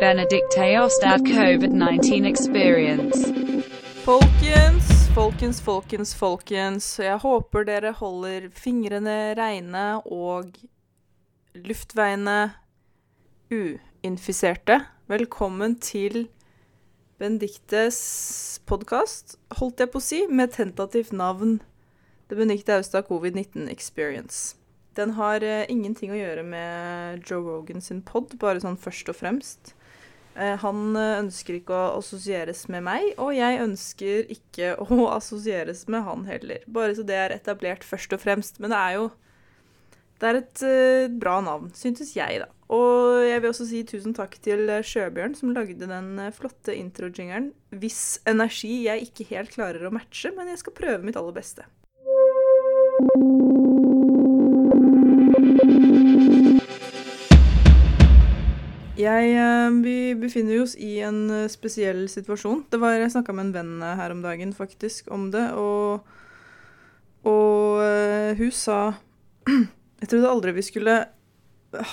Benedikt Aostad covid-19 experience. Folkens, folkens, folkens, folkens. Jeg håper dere holder fingrene reine og luftveiene uinfiserte. Velkommen til Benediktes podkast, holdt jeg på å si, med tentativt navn Det Benedikte Austad covid-19 Experience. Den har eh, ingenting å gjøre med Joe Rogan sin pod, bare sånn først og fremst. Eh, han eh, ønsker ikke å assosieres med meg, og jeg ønsker ikke å assosieres med han heller. Bare så det er etablert først og fremst. Men det er jo Det er et eh, bra navn, syntes jeg, da. Og jeg vil også si tusen takk til eh, Sjøbjørn, som lagde den eh, flotte introjingeren. Hvis energi jeg ikke helt klarer å matche, men jeg skal prøve mitt aller beste. Jeg, eh, vi befinner oss i en eh, spesiell situasjon. Det var, Jeg snakka med en venn eh, her om dagen faktisk om det, og, og eh, hun sa Jeg trodde aldri vi skulle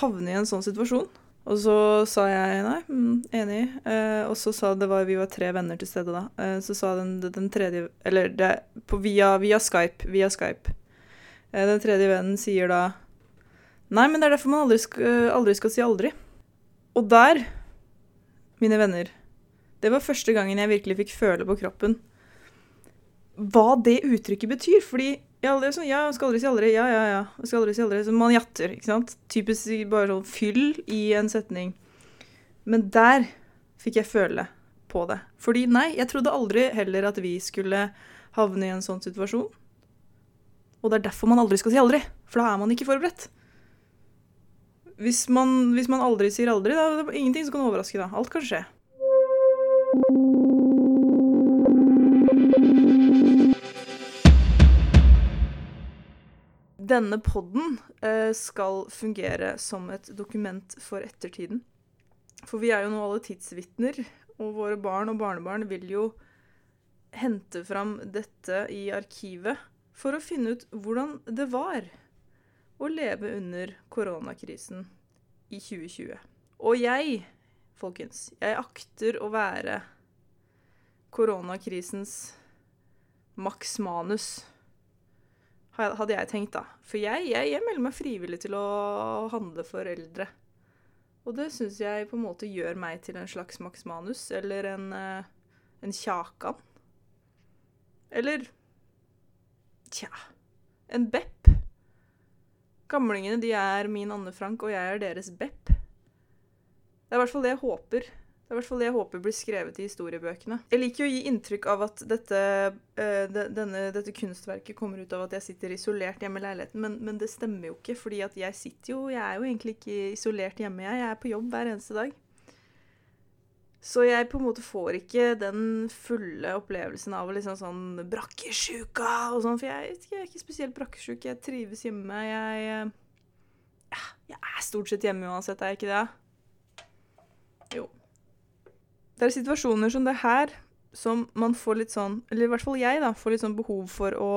havne i en sånn situasjon. Og så sa jeg nei, mm, enig. Eh, og så sa det var, vi var tre venner til stede da. Eh, så sa den, den tredje Eller det, på, via, via Skype. Via Skype. Eh, den tredje vennen sier da Nei, men det er derfor man aldri skal, aldri skal si aldri. Og der, mine venner, det var første gangen jeg virkelig fikk føle på kroppen hva det uttrykket betyr. Fordi jeg, aldri, sånn, ja, jeg skal aldri si aldri, ja, ja, ja. Jeg skal aldri si aldri. Så man jatter, ikke sant. Typisk bare sånn fyll i en setning. Men der fikk jeg føle på det. Fordi nei, jeg trodde aldri heller at vi skulle havne i en sånn situasjon. Og det er derfor man aldri skal si aldri. For da er man ikke forberedt hvis man, hvis man aldri sier aldri, da er det ingenting som kan overraske. da. Alt kan skje. Denne podden eh, skal fungere som et dokument for ettertiden. For vi er jo nå alle tidsvitner, og våre barn og barnebarn vil jo hente fram dette i arkivet for å finne ut hvordan det var å leve under koronakrisen i 2020. Og jeg, folkens, jeg akter å være koronakrisens Max Manus, ha- hadde jeg tenkt da. For jeg, jeg, jeg melder meg frivillig til å handle for eldre. Og det syns jeg på en måte gjør meg til en slags Max Manus, eller en, eh, en Kjakan. Eller tja, en Bepp. Gamlingene de er min Anne Frank, og jeg er deres Bepp. Det er i hvert fall det jeg håper. Det er i hvert fall det jeg håper blir skrevet i historiebøkene. Jeg liker jo å gi inntrykk av at dette, eh, de- denne, dette kunstverket kommer ut av at jeg sitter isolert hjemme i leiligheten, men, men det stemmer jo ikke. fordi at jeg sitter jo, jeg er jo egentlig ikke isolert hjemme, jeg. Jeg er på jobb hver eneste dag. Så jeg på en måte får ikke den fulle opplevelsen av å liksom sånn brakkesjuka og sånn, for jeg, vet ikke, jeg er ikke spesielt brakkesjuk. Jeg trives hjemme. Jeg, eh, ja, jeg er stort sett hjemme uansett, er jeg ikke det? Jo. Det er situasjoner som det her som man får litt sånn, eller i hvert fall jeg, da, får litt sånn behov for å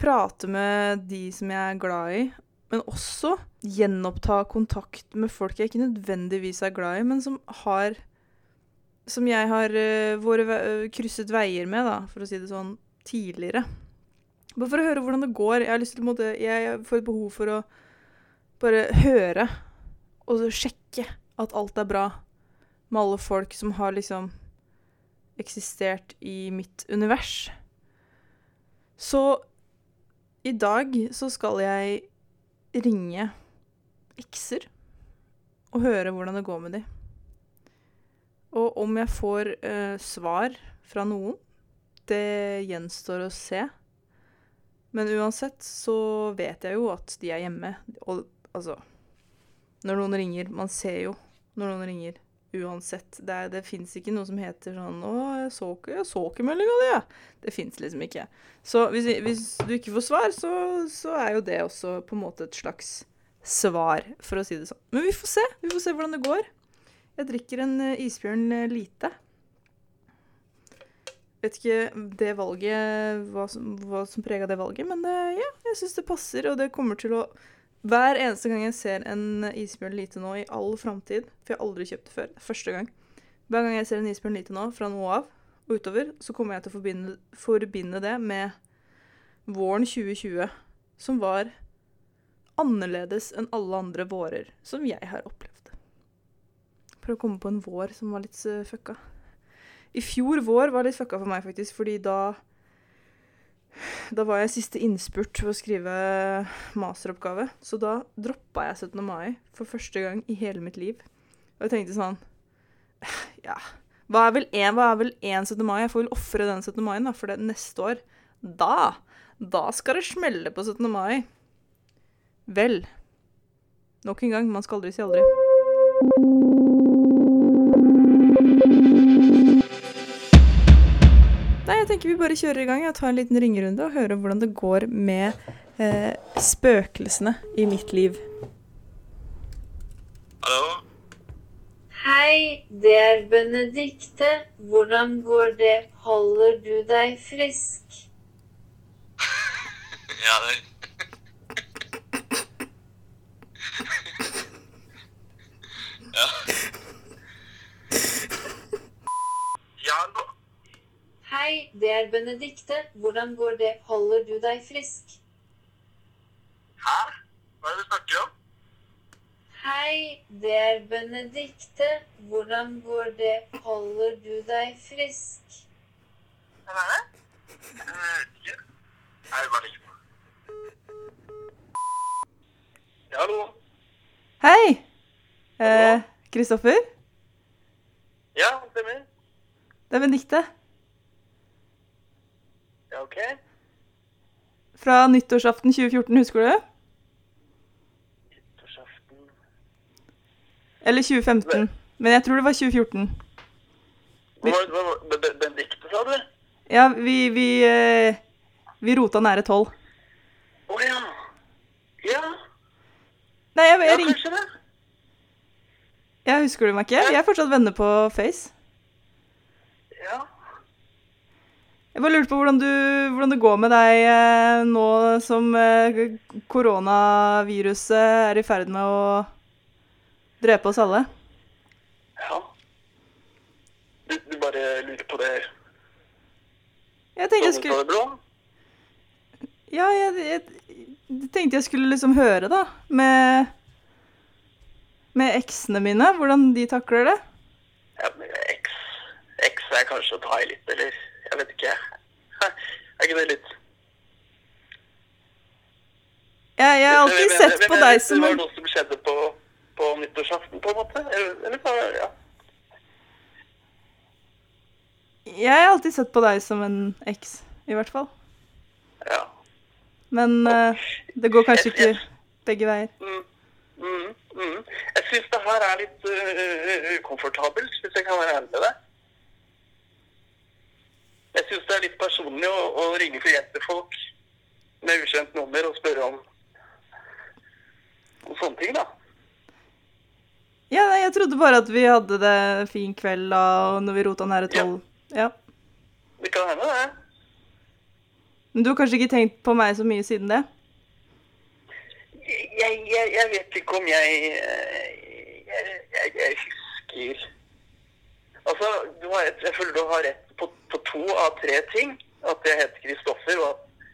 prate med de som jeg er glad i, men også gjenoppta kontakt med folk jeg ikke nødvendigvis er glad i, men som har som jeg har eh, våre, ve- eh, krysset veier med, da, for å si det sånn, tidligere. Bare for å høre hvordan det går. Jeg, har lyst til, på en måte, jeg får et behov for å bare høre og så sjekke at alt er bra med alle folk som har liksom eksistert i mitt univers. Så i dag så skal jeg ringe ekser og høre hvordan det går med de. Og om jeg får eh, svar fra noen, det gjenstår å se. Men uansett så vet jeg jo at de er hjemme. Og altså Når noen ringer Man ser jo når noen ringer. Uansett. Det, er- det fins ikke noe som heter sånn 'Å, jeg så ikke, jeg så ikke meldinga di', jeg. Det fins liksom ikke. Så hvis, hvis du ikke får svar, så, så er jo det også på en måte et slags svar, for å si det sånn. Men vi får se. Vi får se hvordan det går. Jeg drikker en eh, isbjørn eh, lite. Vet ikke det valget, hva som, hva som prega det valget, men eh, ja, jeg syns det passer, og det kommer til å Hver eneste gang jeg ser en eh, isbjørn lite nå i all framtid, for jeg har aldri kjøpt det før, første gang Hver gang jeg ser en isbjørn lite nå, fra nå av og utover, så kommer jeg til å forbinde, forbinde det med våren 2020, som var annerledes enn alle andre vårer som jeg har opplevd. Prøv å komme på en vår som var litt eh, fucka. I fjor vår var litt fucka for meg, faktisk, fordi da da var jeg siste innspurt for å skrive masteroppgave, så da droppa jeg 17. mai for første gang i hele mitt liv. Og jeg tenkte sånn Ja, hva er vel én hva er vel en 17. mai? Jeg får vel ofre den 17. mai, da, for det neste år Da! Da skal det smelle på 17. mai. Vel. Nok en gang, man skal aldri si aldri. Nei, jeg tenker vi bare kjører i gang og tar en liten ringerunde og hører hvordan det går med eh, spøkelsene i mitt liv. Hallo? Hei, det er Benedikte. Hvordan går det? Holder du deg frisk? Ja, det Ja. Ja, hallo? Hei, det er Benedikte. Hvordan går det? Holder du deg frisk? Hæ? Hva er det du snakker om? Hei, det er Benedikte. Hvordan går det? Holder du deg frisk? Hvem er det? Jeg vet ikke. Nei, bare ligg på. Ja, hallo? Hei! Eh, Kristoffer? Ja, stemmer. det er Benedikte. Ja, ok. Fra nyttårsaften 2014, husker du? Nyttårsaften Eller 2015. Men jeg tror det var 2014. Hva var det- hva var- Ben- Ben- Benedicte, sa du? Ja, vi vi, eh, vi rota nære tolv. Å ja. Ja, Nei, jeg, ja jeg, ringte- kanskje det. jeg husker du meg ikke? Vi er fortsatt venner på Face. Ja. Jeg bare lurte på hvordan, du, hvordan det går med deg eh, nå som eh, koronaviruset er i ferd med å drepe oss alle. Ja. Du, du bare lurer på det Jeg tenkte jeg Sånn skulle, står det blå? ja, jeg, jeg, tenkte jeg skulle liksom høre, da, med, med eksene mine, hvordan de takler det. Ja, men X X er kanskje å ta i litt, eller Jeg vet ikke. Er ikke det litt Jeg, jeg har alltid Men- men- sett men- på men- deg som Det var en noe som skjedde på, på nyttårsaften, på en måte? Eller, eller så, ja. Jeg har alltid sett på deg som en eks, i hvert fall. ja. Men eh, det går kanskje ikke begge veier. Mm. Mm. Mm. Jeg syns det her er litt øh, ukomfortabelt, hvis jeg kan være ærlig med deg. Jeg syns det er litt personlig å, å ringe for hjelp til folk med ukjent nummer og spørre om, om sånne ting, da. Ja, nei, jeg trodde bare at vi hadde det en fin kveld da, og når vi rota nære tolv. Ja. Det kan hende, det. Men du har kanskje ikke tenkt på meg så mye siden det? jeg, jeg, jeg vet ikke om jeg eh, Jeg, jeg, jeg husker Altså, du har, rett- jeg føler du har rett på, på to av tre ting. At jeg heter Kristoffer, og at,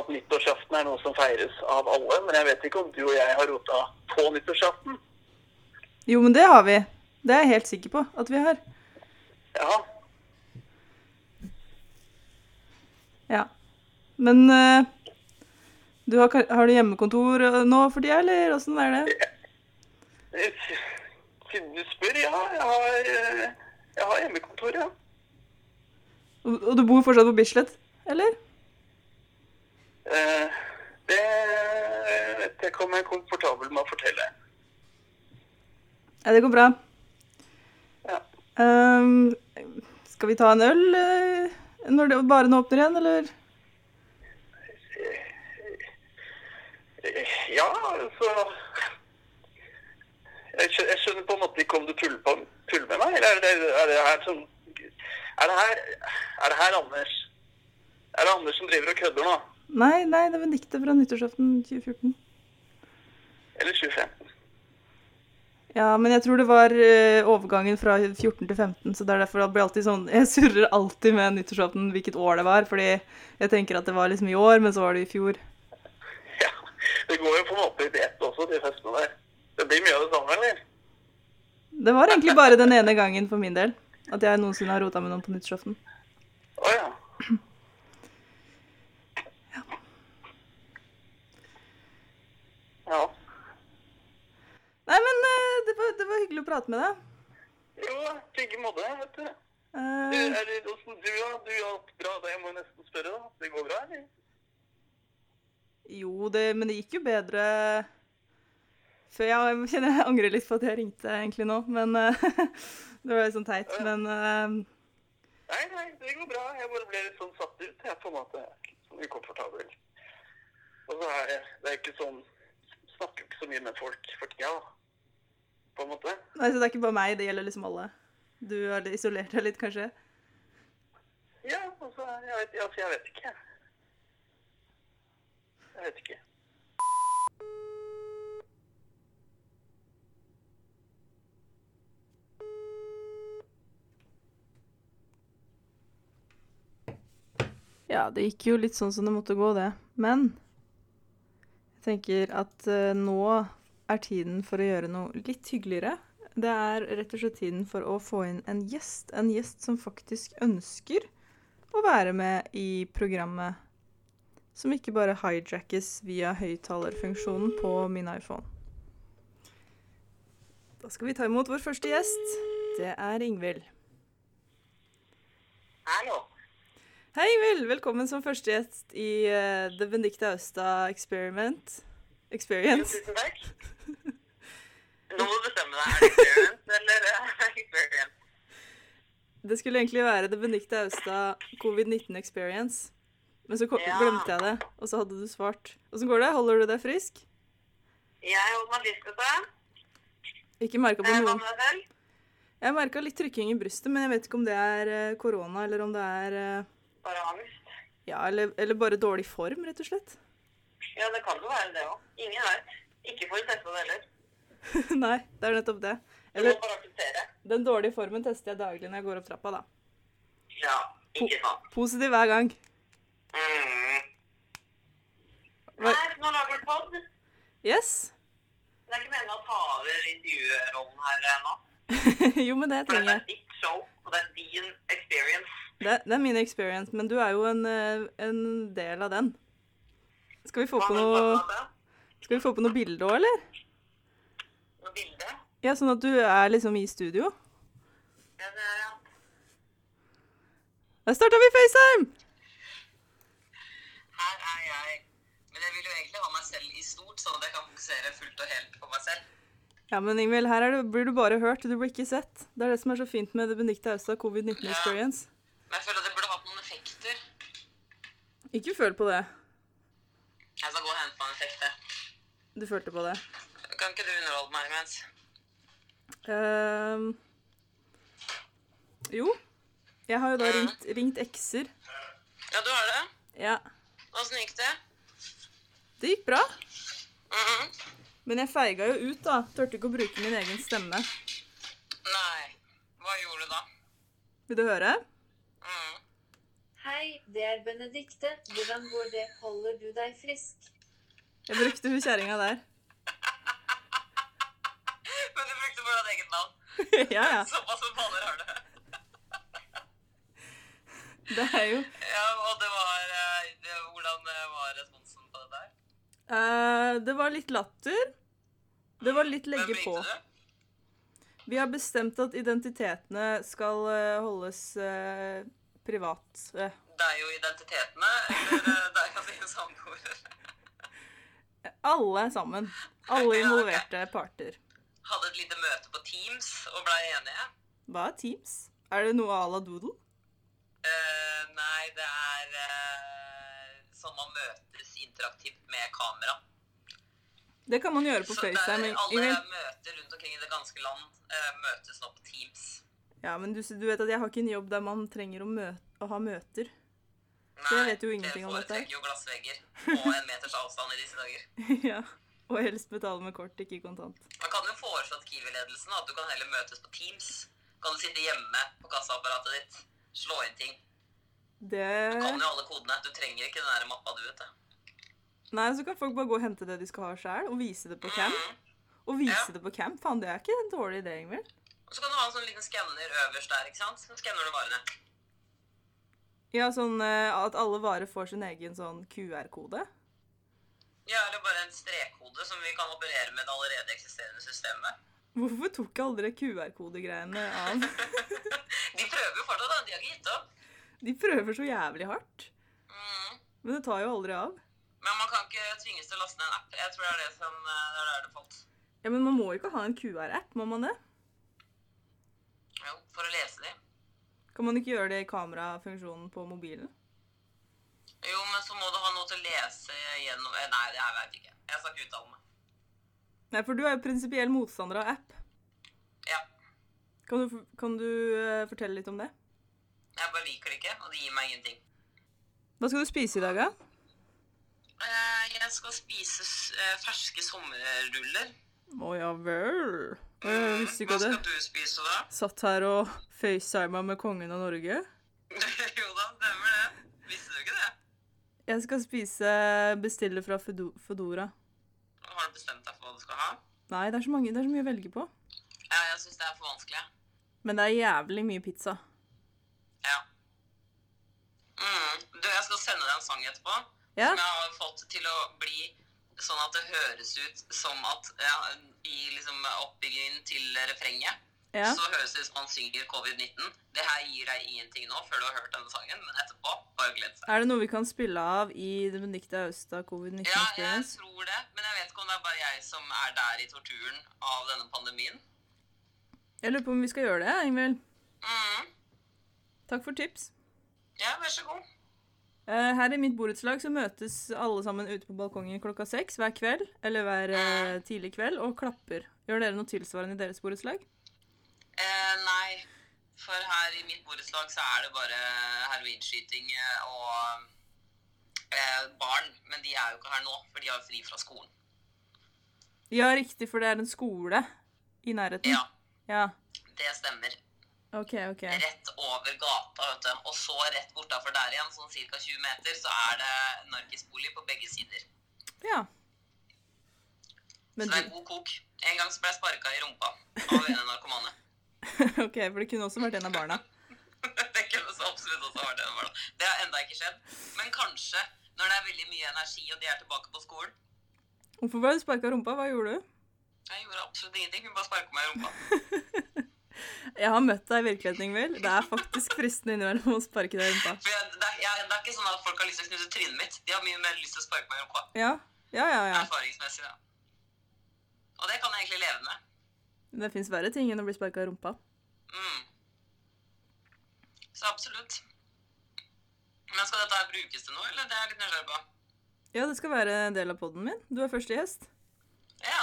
at nyttårsaften er noe som feires av alle. Men jeg vet ikke om du og jeg har rota på nyttårsaften. Jo, men det har vi. Det er jeg helt sikker på at vi har. Ja. Ja. Men eh, du har, ka- har du hjemmekontor eh, nå for tida, eller åssen er det? Siden du spør, ja. Jeg har, eh, jeg har hjemmekontor, ja. Og, og du bor fortsatt på Bislett, eller? Eh, Det vet jeg ikke om jeg er komfortabel med å fortelle. Ja, det går bra. Ja. Ehm, skal vi ta en øl eh, når det bare nå åpner igjen, eller? Eh, Ja, altså jeg skjø- jeg skjønner på en måte ikke om du tuller, på, tuller med meg, eller er det, er det her som er det her, er det her Anders Er det Anders som driver og kødder nå? Nei, nei, det var en dikte fra nyttårsaften 2014. Eller 2015. Ja, men jeg tror det var eh, overgangen fra 14 til 15, så det er derfor det blir alltid sånn Jeg surrer alltid med nyttårsaften hvilket år det var, fordi jeg tenker at det var liksom i år, men så var det i fjor. Ja. Det går jo på en måte litt i ett også, de festene der. Det blir mye av det samme, eller? Det var egentlig bare den ene gangen for min del at jeg noensinne har rota med noen på nyttårsaften. Å ja. Ja. Nei, men eh, det var, det var hyggelig å prate med deg. Jo, i like måte, vet du. Du, Eh, er det, hvordan, du, ja, du har hatt bra, det må jeg nesten spørre, da. Det går bra, eller? jo, det, men det gikk jo bedre før jeg, jeg kjenner jeg angrer litt på at jeg ringte egentlig nå, men eh, Det var litt sånn teit, men eh, Nei, nei, det går bra. Jeg bare ble litt sånn satt ut, jeg, på en måte. Jeg er litt sånn ukomfortabel. Og så er det, det er ikke sånn Snakker ikke så mye med folk for tida, da. På en måte. Nei, så det er ikke bare meg, det gjelder liksom alle. Du har isolert deg litt, kanskje? Ja, altså, jeg vet, altså, jeg vet ikke. Jeg vet ikke. Ja, det gikk jo litt sånn som det måtte gå, det. Men jeg tenker at eh, nå er tiden for å gjøre noe litt hyggeligere. Det er rett og slett tiden for å få inn en gjest. En gjest som faktisk ønsker å være med i programmet. Som ikke bare hijackes via høyttalerfunksjonen på min iPhone. Da skal vi ta imot vår første gjest. Det er Ingvild. Hallo. Hei, Ingvild! Velkommen som første gjest i eh, The Benedicte Austad Experiment. Experience. Tusen takk. Nå må du bestemme deg. Er det experience eller eh, experience? Det skulle egentlig være The Benedicte Austad Covid-19 Experience. Men så ko- Ja. glemte jeg det, og så hadde du svart. Åssen går det? Holder du deg frisk? Jeg holder meg frisk, altså. Ikke merka på Eh, Hva noen. med deg selv? Jeg merka litt trykking i brystet, men jeg vet ikke om det er eh, korona, eller om det er eh, Bare angst. Ja, eller, eller bare dårlig form, rett og slett. Ja, det kan jo være det òg. Ingen vet. Ikke for å teste det heller. Nei, det er nettopp det. Du må Eller bare akseptere. den dårlige formen tester jeg daglig når jeg går opp trappa, da. Ja, ikke sant. Positiv hver gang. Mm. Hva- Nei, så nå lager du pod. Det Yes. er ikke meningen å ta over intervjuerollen her eh, nå. jo, men det For trenger det jeg. er ditt show, og det er din experience. Det, det er min experience, men du er jo en, eh, en del av den. Skal vi få Hva på har du noe, tatt med deg? skal vi få på noe bilde òg, eller? Noe bilde? Ja, sånn at du er liksom i studio. Ja, det er ja. Der starta vi FaceTime! Her er jeg. Men jeg vil jo egentlig ha meg selv i stort, sånn at jeg kan fokusere fullt og helt på meg selv. Ja, men Ingvild, her er det, blir du bare hørt, du blir ikke sett. Det er det som er så fint med det Benedicte Austad covid-19 experience. Men jeg føler at jeg burde hatt noen effekter. Ikke føl på det. Jeg skal gå og hente meg en effekt, jeg. Du følte på det. Kan ikke du underholde meg imens? Ehm, jo. Jeg har jo da ringt, ringt ekser. Ja, du har det. Ja. Åssen gikk det? Det gikk bra. Mhm. Men jeg feiga jo ut, da. Turte ikke å bruke min egen stemme. Nei. Hva gjorde du da? Vil du høre? Mhm. Hei, det er Benedikte. Hvordan går det? Holder du deg frisk? Jeg brukte hun kjerringa der. Men du brukte fortsatt eget navn. ja, ja. Såpass som fader har det. Det er jo Ja, og det var eh, det, Hvordan eh, var responsen på det der? Eh, Det var litt latter. Det var litt legge Hvem på. ringte du? Vi har bestemt at identitetene skal eh, holdes eh, privat. Eh, Det er jo identitetene, eller eh, det er jo dine samboere. Alle sammen. Alle involverte parter. Hadde et lite møte på Teams og blei enige. Hva er Teams? Er det noe à la Doodle? Eh, nei, det er eh, sånn man møtes interaktivt med kamera. Det kan man gjøre på Så det er, FaceTime. alle Ingvild. møter rundt omkring i det ganske land eh, møtes nå på Teams. Ja, men du, du vet at jeg har ikke en jobb der man trenger å, møte, å ha møter. Nei, Jeg vet jo ingenting om dette. Dere foretrekker jo glassvegger og en meters avstand i disse dager. ja. Og helst betale med kort, ikke kontant. Man kan jo foreslå til Kiwi-ledelsen at du kan heller møtes på Teams. Kan du sitte hjemme på kassaapparatet ditt, slå inn ting. Du kan Det jo alle kodene. Du trenger ikke den der mappa, du, vet du. Nei, så kan folk bare gå og hente det de skal ha sjøl, og vise det på camp. Og vise Ja. det på camp, faen, det er ikke en dårlig idé, Ingvild. Og så kan du ha en sånn liten skanner øverst der, ikke sant? Så skanner du varene. Ja, sånn eh, at alle varer får sin egen sånn QR-kode. Ja, eller bare en strekkode som vi kan operere med det allerede eksisterende systemet. Hvorfor tok jeg aldri QR-kodegreiene av? De prøver jo fortsatt, da. De har ikke gitt opp. De prøver så jævlig hardt, Mm. men det tar jo aldri av. Men man kan ikke tvinges til å laste ned en app. Jeg tror det er det som eh, det er der det falt. Ja, Men man må jo ikke ha en QR-app, må man det? Jo, for å lese de. Kan man ikke gjøre det i kamerafunksjonen på mobilen? Jo, men så må du ha noe til å lese gjennom eh, Nei, det her vet jeg ikke. Jeg skal ikke uttale meg. Nei, for du er jo prinsipiell motstander av app. Ja. Kan du, f- kan du eh, fortelle litt om det? Jeg bare liker det ikke, og det gir meg ingenting. Hva skal du spise i dag, da? Eh, Jeg skal spise s- eh, ferske sommerruller. Å ja vel. Å, jeg visste Mm, ikke Hva skal det. du spise da? Satt her og facetima med kongen av Norge. jo da, stemmer det. Visste du ikke det? Jeg skal spise bestille fra Foodora. Har du bestemt deg for hva du skal ha? Nei, det er så mange, det er så mye å velge på. Ja, jeg syns det er for vanskelig. Men det er jævlig mye pizza. Ja. Mm. Du, jeg skal sende deg en sang etterpå. Ja? Som jeg har fått til å bli sånn at det høres ut som at ja, I liksom oppbyggingen til refrenget Ja. så høres det ut som man synger covid-19. Det her gir deg ingenting nå før du har hørt denne sangen, men etterpå bare gled seg. Er det noe vi kan spille av i det Benedicte Austad covid 19 Ja, jeg experience? tror det, men jeg vet ikke om det er bare jeg som er der i torturen av denne pandemien. Jeg lurer på om vi skal gjøre det, ja, Ingvild. Mm. Takk for tips. Ja, vær så god. Eh, Her i mitt borettslag så møtes alle sammen ute på balkongen klokka seks hver kveld, eller hver eh, Mm. tidlig kveld, og klapper. Gjør dere noe tilsvarende i deres borettslag? Eh, nei, for her i mitt borettslag så er det bare heroinskyting eh, og eh, barn. Men de er jo ikke her nå, for de har jo fri fra skolen. Ja, riktig, for det er en skole i nærheten. Ja, Ja, det stemmer. OK, OK. Rett over gata, vet du. Og så rett bortafor der igjen, sånn ca. 20 meter, så er det narkisbolig på begge sider. Ja. Men så det er du, god kok. En gang så ble jeg sparka i rumpa av en narkomane. OK, for det kunne også vært en av barna. det kunne så absolutt også vært en barna. Det har enda ikke skjedd. Men kanskje, når det er veldig mye energi, og de er tilbake på skolen Hvorfor ble du sparka rumpa? Hva gjorde du? Jeg gjorde absolutt ingenting. Hun bare sparka meg i rumpa. Jeg har møtt deg i virkeligheten, Ingvild. Det er faktisk fristende innimellom å sparke deg i rumpa. For jeg, det, er, jeg, det er ikke sånn at folk har lyst til å knuse trynet mitt. De har mye mer lyst til å sparke meg i rumpa. Ja. Ja, ja, ja. Erfaringsmessig, da. Og det kan jeg egentlig leve med. Det fins verre ting enn å bli sparka i rumpa. Mm. Så absolutt. Men skal dette her brukes til noe, eller? Det er jeg litt nysgjerrig på. Ja, det skal være en del av poden min. Du er første gjest. Ja.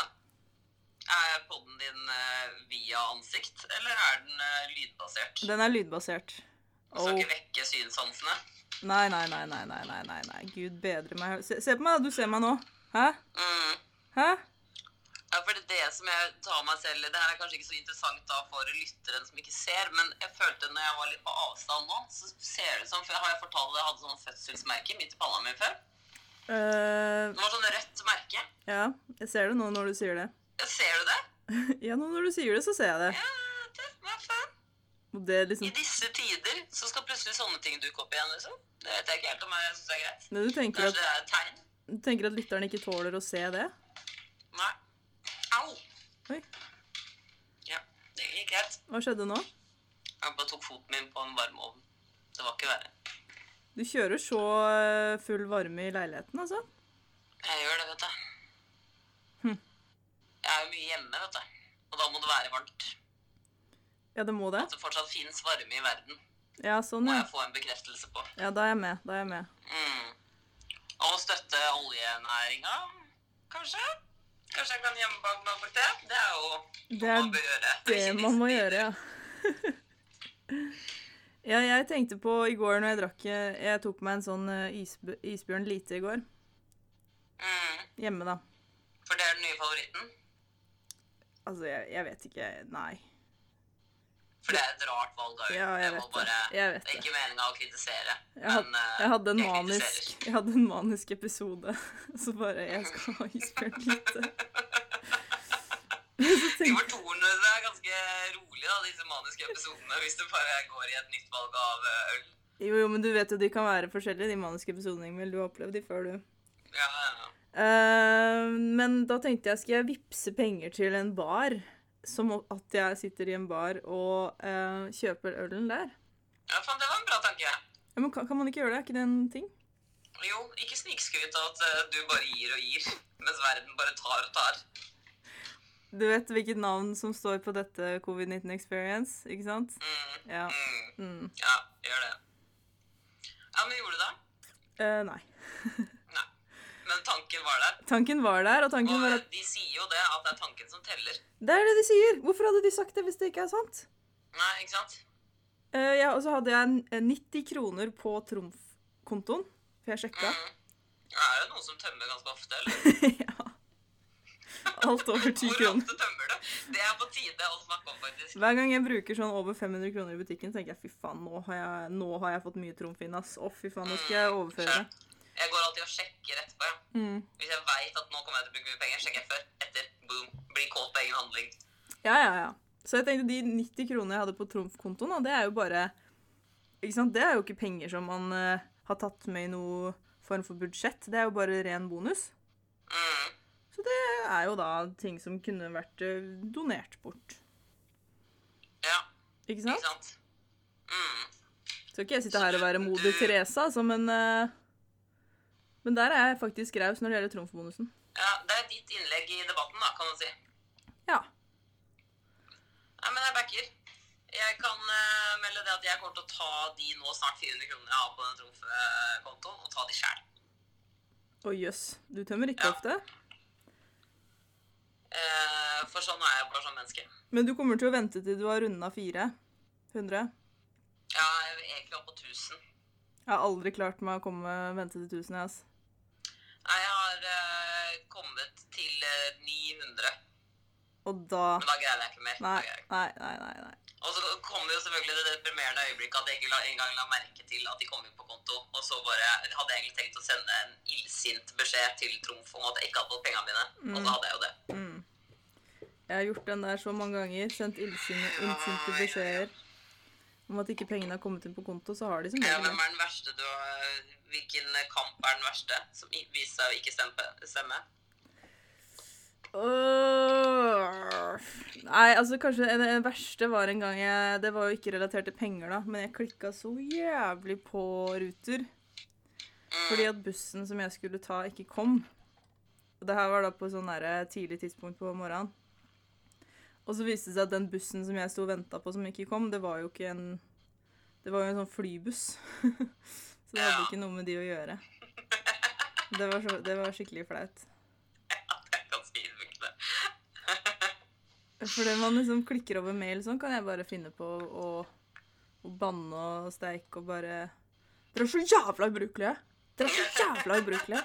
Er podden din eh, via ansikt, eller er den eh, lydbasert? Den er lydbasert. Du Skal Åh. ikke vekke synssansene. Nei, nei, nei, nei, nei, nei, nei, nei. Gud bedre meg. Se, se på meg, da. Du ser meg nå. Hæ? Mm. Hæ? Ja, for det er det som jeg tar meg selv i. Det her er kanskje ikke så interessant da for lytteren som ikke ser, men jeg følte når jeg var litt på avstand nå, så ser det ut som For har jeg fortalt at jeg hadde sånn fødselsmerke midt i panna mi før? Eh, Det var sånn rødt merke. ja, jeg ser det nå når du sier det. Ja, Ser du det? Ja, nå når du sier det, så ser jeg det. Ja, det hva faen? Og det er liksom I disse tider så skal plutselig sånne ting dukke opp igjen, liksom. Det vet jeg ikke helt om jeg syns er greit. Men du tenker at, Kanskje det er et tegn? du tenker at lytteren ikke tåler å se det? Nei. Au! Oi, Ja, det gikk greit. hva skjedde nå? Jeg bare tok foten min på en varm ovn. Det var ikke verre. Du kjører så eh, full varme i leiligheten, altså? Jeg gjør det, vet du. Hm. Jeg er jo mye hjemme, vet du. Og da må det være varmt. Ja, det må det. At det fortsatt fins varme i verden, Ja, sånn, må ja. jeg få en bekreftelse på. Ja, da er jeg med. Da er jeg med. Mm. Og støtte oljenæringa, kanskje? Kanskje jeg kan hjemmebake meg bort det? Det er jo Det hva er man bør gjøre. det i man må disse gjøre, tider. ja. Ja, jeg tenkte på i går når jeg drakk eh, Jeg tok meg en sånn eh, isb isbjørn lite i går. Mm. Hjemme, da. For det er den nye favoritten. Altså, jeg, jeg vet ikke Nei. For det er et rart valg av Ja, jeg må vet det. bare, Jeg vet det er ikke meninga å kritisere, Jeg had- men eh, Jeg hadde en jeg manisk, kritiserer. jeg hadde en manisk episode, så bare Jeg skal ha isbjørn lite. Så De tenkte for toerne det er ganske rolig, da, disse maniske episodene, hvis du bare går i et nytt valg av eh, øl. Jo, jo, men du vet jo de kan være forskjellige, de maniske episodene, Emil. Du har opplevd de før, du. Ja, ja, ja. Eh, men da tenkte jeg, skal jeg vippse penger til en bar? Som at jeg sitter i en bar og eh, kjøper ølen der? ja, faen, det var en bra tanke. Ja, men kan, kan man ikke gjøre det? Er ikke det en ting? Jo, ikke snikskryt av at eh, du bare gir og gir, mens verden bare tar og tar. Du vet hvilket navn som står på dette covid-19 experience, ikke sant? Mm, Ja. mm, Mm. ja, gjør det. Ja, men gjorde du det? Eh, nei. Nei. Men tanken var der. Tanken var der, og tanken var Og eh, at de sier jo det, at det er tanken som teller. Det er det de sier! Hvorfor hadde de sagt det hvis det ikke er sant? Nei, ikke sant? Eh, ja, og så hadde jeg n- 90 kroner på trumfkontoen, for jeg sjekka. Ja, Er det noen som tømmer ganske ofte, eller? ja. Alt over 10 Hvor kroner. ofte tømmer du? Det er på tide å snakke om, faktisk. Hver gang jeg bruker sånn over 500 kroner i butikken, tenker jeg fy faen, nå har jeg, nå har jeg fått mye trumf inn, ass. Å, fy faen, nå skal jeg overføre. Skjønt. Jeg går alltid og sjekker etterpå. ja. Mm. Hvis jeg vet at nå kommer jeg til å bruke mye penger, sjekker jeg før. Etter. Boom. Blir kåt på egen handling. Ja, ja, ja. Så jeg tenkte de 90 kronene jeg hadde på trumfkontoen, da, det er jo bare Ikke sant, det er jo ikke penger som man eh, har tatt med i noe form for budsjett. Det er jo bare ren bonus. Mm. Så det er jo da ting som kunne vært eh, donert bort. Ja, Ikke ikke sant? sant? Mm. Skal ikke jeg sitte her og være moder Teresa, altså, men eh, Men der er jeg faktisk raus når det gjelder trumfbonusen. Ja, det er ditt innlegg i debatten, da, kan man si. Ja. Nei, men jeg backer. Jeg kan eh, melde det at jeg kommer til å ta de nå snart 400 kronene jeg har på den trumfkontoen, og ta de sjæl. Å jøss, du tømmer ikke Ja. ofte? Eh, for sånn er jeg bare som menneske. Men du kommer til å vente til du har runda 400. Ja, jeg vil egentlig opp på 1000. Jeg har aldri klart meg å komme vente til 1000, jeg, ass. Nei, jeg har eh, kommet til eh, 900, Og da men da greide jeg ikke mer. Da Nei, greide jeg ikke. nei, nei. nei, nei. Og så kommer jo selvfølgelig det deprimerende øyeblikket at jeg ikke la, engang la merke til at de kom inn på konto, og så bare hadde jeg egentlig tenkt å sende en illsint beskjed til Trumf om at jeg ikke hadde fått pengene mine, og så hadde jeg jo det. Mm. Jeg har gjort den der så mange ganger. Sendt illsinte illsinte Ja, ja, ja. beskjeder om at ikke pengene har kommet inn på konto, så har de som Ja, regel hvem det. Eh, er den verste du har Hvilken kamp er den verste som i- viser seg å ikke stempe- stemme? Åh. Nei, altså kanskje det det verste var en gang jeg Det var jo ikke relatert til penger, da, men jeg klikka så jævlig på Ruter. Fordi at bussen som jeg skulle ta, ikke kom. Og det her var da på sånn derre tidlig tidspunkt på morgenen. Og så viste det seg at den bussen som jeg sto og venta på, som ikke kom, det var jo ikke en Det var jo en sånn flybuss. så det hadde Ja. ikke noe med de å gjøre. Det var, så, det var skikkelig flaut. Ja, det er ganske innviklende. For det man liksom klikker over mail sånn, kan jeg bare finne på å, å banne og steike og bare Dere er så jævla ubrukelige! Dere er så jævla ubrukelige!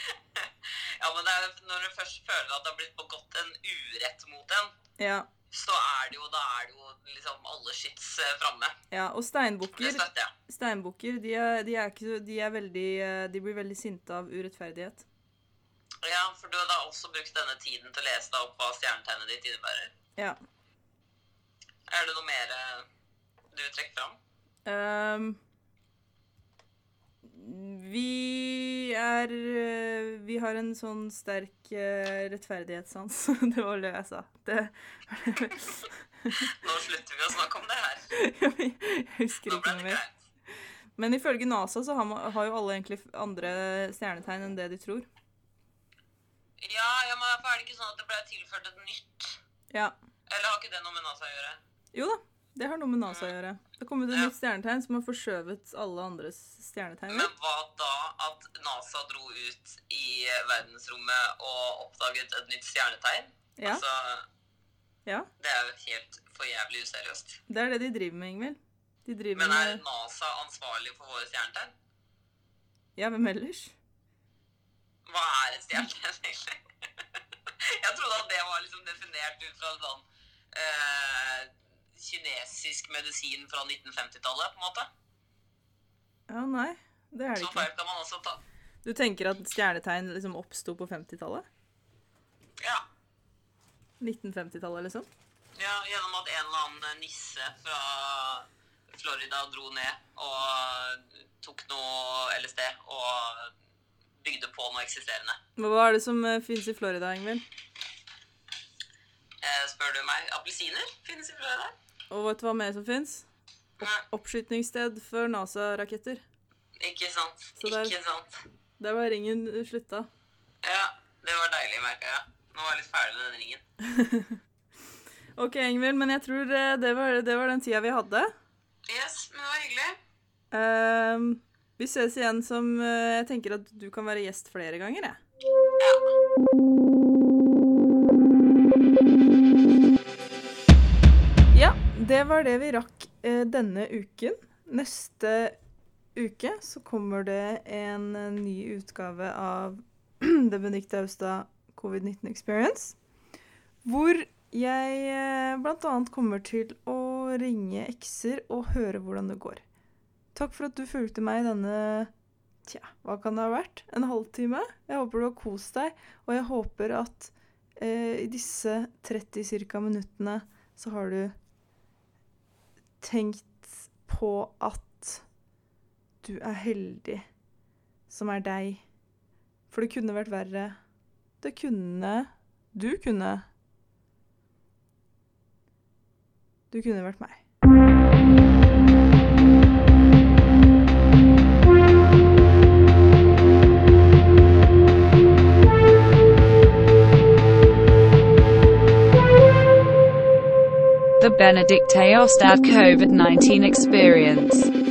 Ja, men det er, jo- når du først føler at det har blitt begått en urett mot en, Ja. så er det jo, da er det jo liksom alle skyts eh, framme. ja. Og Det steinbukker støtter jeg. Steinbukker de er, de er, ikke, så- de er veldig eh, De blir veldig sinte av urettferdighet. Ja, for du har da også brukt denne tiden til å lese deg opp hva stjernetegnet ditt innebærer. Ja. Er det noe mer eh, du vil trekke fram? Ehm, vi er eh, Vi har en sånn sterk eh, rettferdighetssans. det var det jeg sa. Det, Nå slutter vi å snakke om det her. jeg husker ikke Nå ble noe det mer. greit. Men ifølge NASA så har, man, har jo alle egentlig andre stjernetegn enn det de tror. Ja, ja, men er det ikke sånn at det ble tilført et nytt? Ja. Eller har ikke det noe med NASA å gjøre? Jo da, det har noe med NASA å gjøre. Det har kommet et nytt stjernetegn som har forskjøvet alle andres stjernetegn. Men hva da at NASA dro ut i verdensrommet og oppdaget et nytt stjernetegn? Ja, Altså, ja. det er jo helt for jævlig useriøst. Det er det de driver med, Ingvild. De driver Men er med NASA ansvarlig for våre stjernetegn? Ja, hvem ellers? Hva er et stjernetegn egentlig? Jeg trodde at det var liksom definert ut fra sånn eh, kinesisk medisin fra 1950-tallet, på en måte. Ja, nei. Det er det Så ikke. feil kan man også ta. Du tenker at stjernetegn liksom oppsto på 50-tallet? Ja. 1950-tallet, liksom? ja. Gjennom at en eller annen nisse fra Florida dro ned og tok noe LSD og bygde på noe eksisterende. Men Hva er det som eh, finnes i Florida, Ingvild? Eh, spør du meg, appelsiner finnes i Florida? Og vet du hva mer som finnes? Nei, Oppskytningssted for NASA-raketter. ikke sant. Så det er- Ikke sant. Der var ringen eh, slutta. Ja, det var deilig, merka jeg. Nå var jeg litt ferdig med den ringen. OK, Ingvild, men jeg tror eh, det var, det var den tida vi hadde. Yes, men det var hyggelig. Ehm, vi ses igjen som eh, Jeg tenker at du kan være gjest flere ganger, jeg. Ja, det var det vi rakk eh, denne uken. Neste uke så kommer det en eh, ny utgave av The Benedicte Austad Covid-19 Experience. Hvor jeg eh, bl.a. kommer til å ringe ekser og høre hvordan det går. Takk for at du fulgte meg i denne Tja, hva kan det ha vært? En halvtime? Jeg håper du har kost deg, og jeg håper at eh, i disse 30 cirka minuttene så har du tenkt på at du er heldig som er deg. For det kunne vært verre. Det kunne Du kunne Du kunne vært meg. The Benedict Aostad COVID-19 Experience.